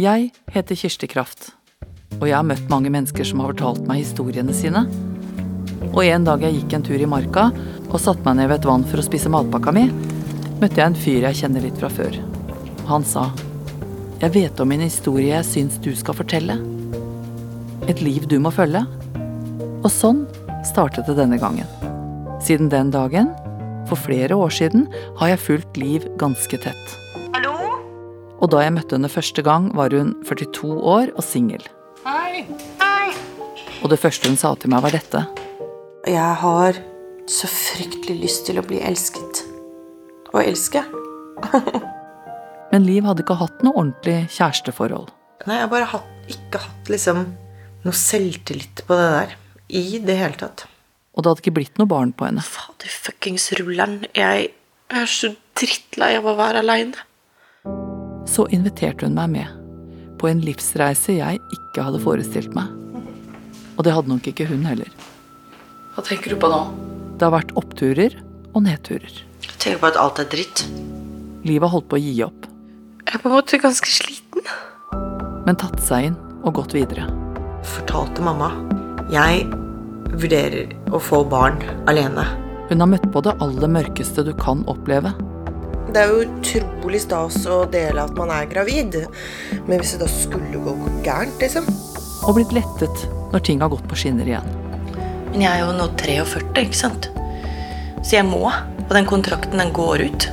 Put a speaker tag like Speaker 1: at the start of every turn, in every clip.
Speaker 1: Jeg heter Kirsti Kraft, og jeg har møtt mange mennesker som har fortalt meg historiene sine. Og en dag jeg gikk en tur i marka og satte meg ned ved et vann for å spise matpakka mi, møtte jeg en fyr jeg kjenner litt fra før. Han sa, 'Jeg vet om en historie jeg syns du skal fortelle. Et liv du må følge.' Og sånn startet det denne gangen. Siden den dagen, for flere år siden, har jeg fulgt Liv ganske tett.
Speaker 2: Hallo?
Speaker 1: Og da jeg møtte henne første gang, var hun 42 år og singel.
Speaker 2: Hei. Hei.
Speaker 1: Og det første hun sa til meg, var dette.
Speaker 3: Og jeg har så fryktelig lyst til å bli elsket. Å elske.
Speaker 1: Men Liv hadde ikke hatt noe ordentlig kjæresteforhold.
Speaker 3: Nei, jeg har bare hatt, ikke hatt liksom noe selvtillit på det der. I det hele tatt.
Speaker 1: Og det hadde ikke blitt noe barn på henne.
Speaker 3: Fader fuckings rulleren. Jeg er så drittlei av å være aleine.
Speaker 1: Så inviterte hun meg med. På en livsreise jeg ikke hadde forestilt meg. Og det hadde nok ikke hun heller.
Speaker 3: Hva tenker du på nå?
Speaker 1: Det har vært oppturer og nedturer.
Speaker 3: Jeg tenker på at alt er dritt.
Speaker 1: Livet har holdt på å gi opp,
Speaker 3: Jeg er på en måte ganske sliten.
Speaker 1: men tatt seg inn og gått videre.
Speaker 3: Fortalte mamma. Jeg vurderer å få barn alene.
Speaker 1: Hun har møtt på det aller mørkeste du kan oppleve.
Speaker 4: Det er jo utrolig stas å dele at man er gravid. Men hvis det da skulle gå gærent, liksom
Speaker 1: Og blitt lettet når ting har gått på skinner igjen.
Speaker 3: Men jeg er jo nå 43, ikke sant? Så jeg må. Og den kontrakten, den går ut.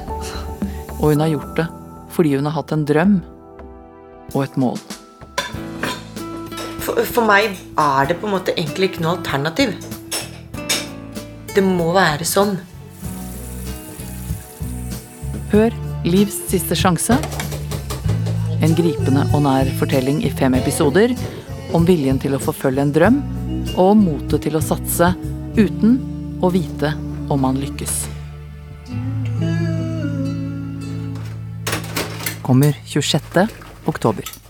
Speaker 1: Og hun har gjort det fordi hun har hatt en drøm og et mål.
Speaker 3: For, for meg er det på en måte egentlig ikke noe alternativ. Det må være sånn.
Speaker 1: Hør Livs siste sjanse. En gripende og nær fortelling i fem episoder om viljen til å forfølge en drøm og om motet til å satse uten å vite om man lykkes. Kommer 26. oktober.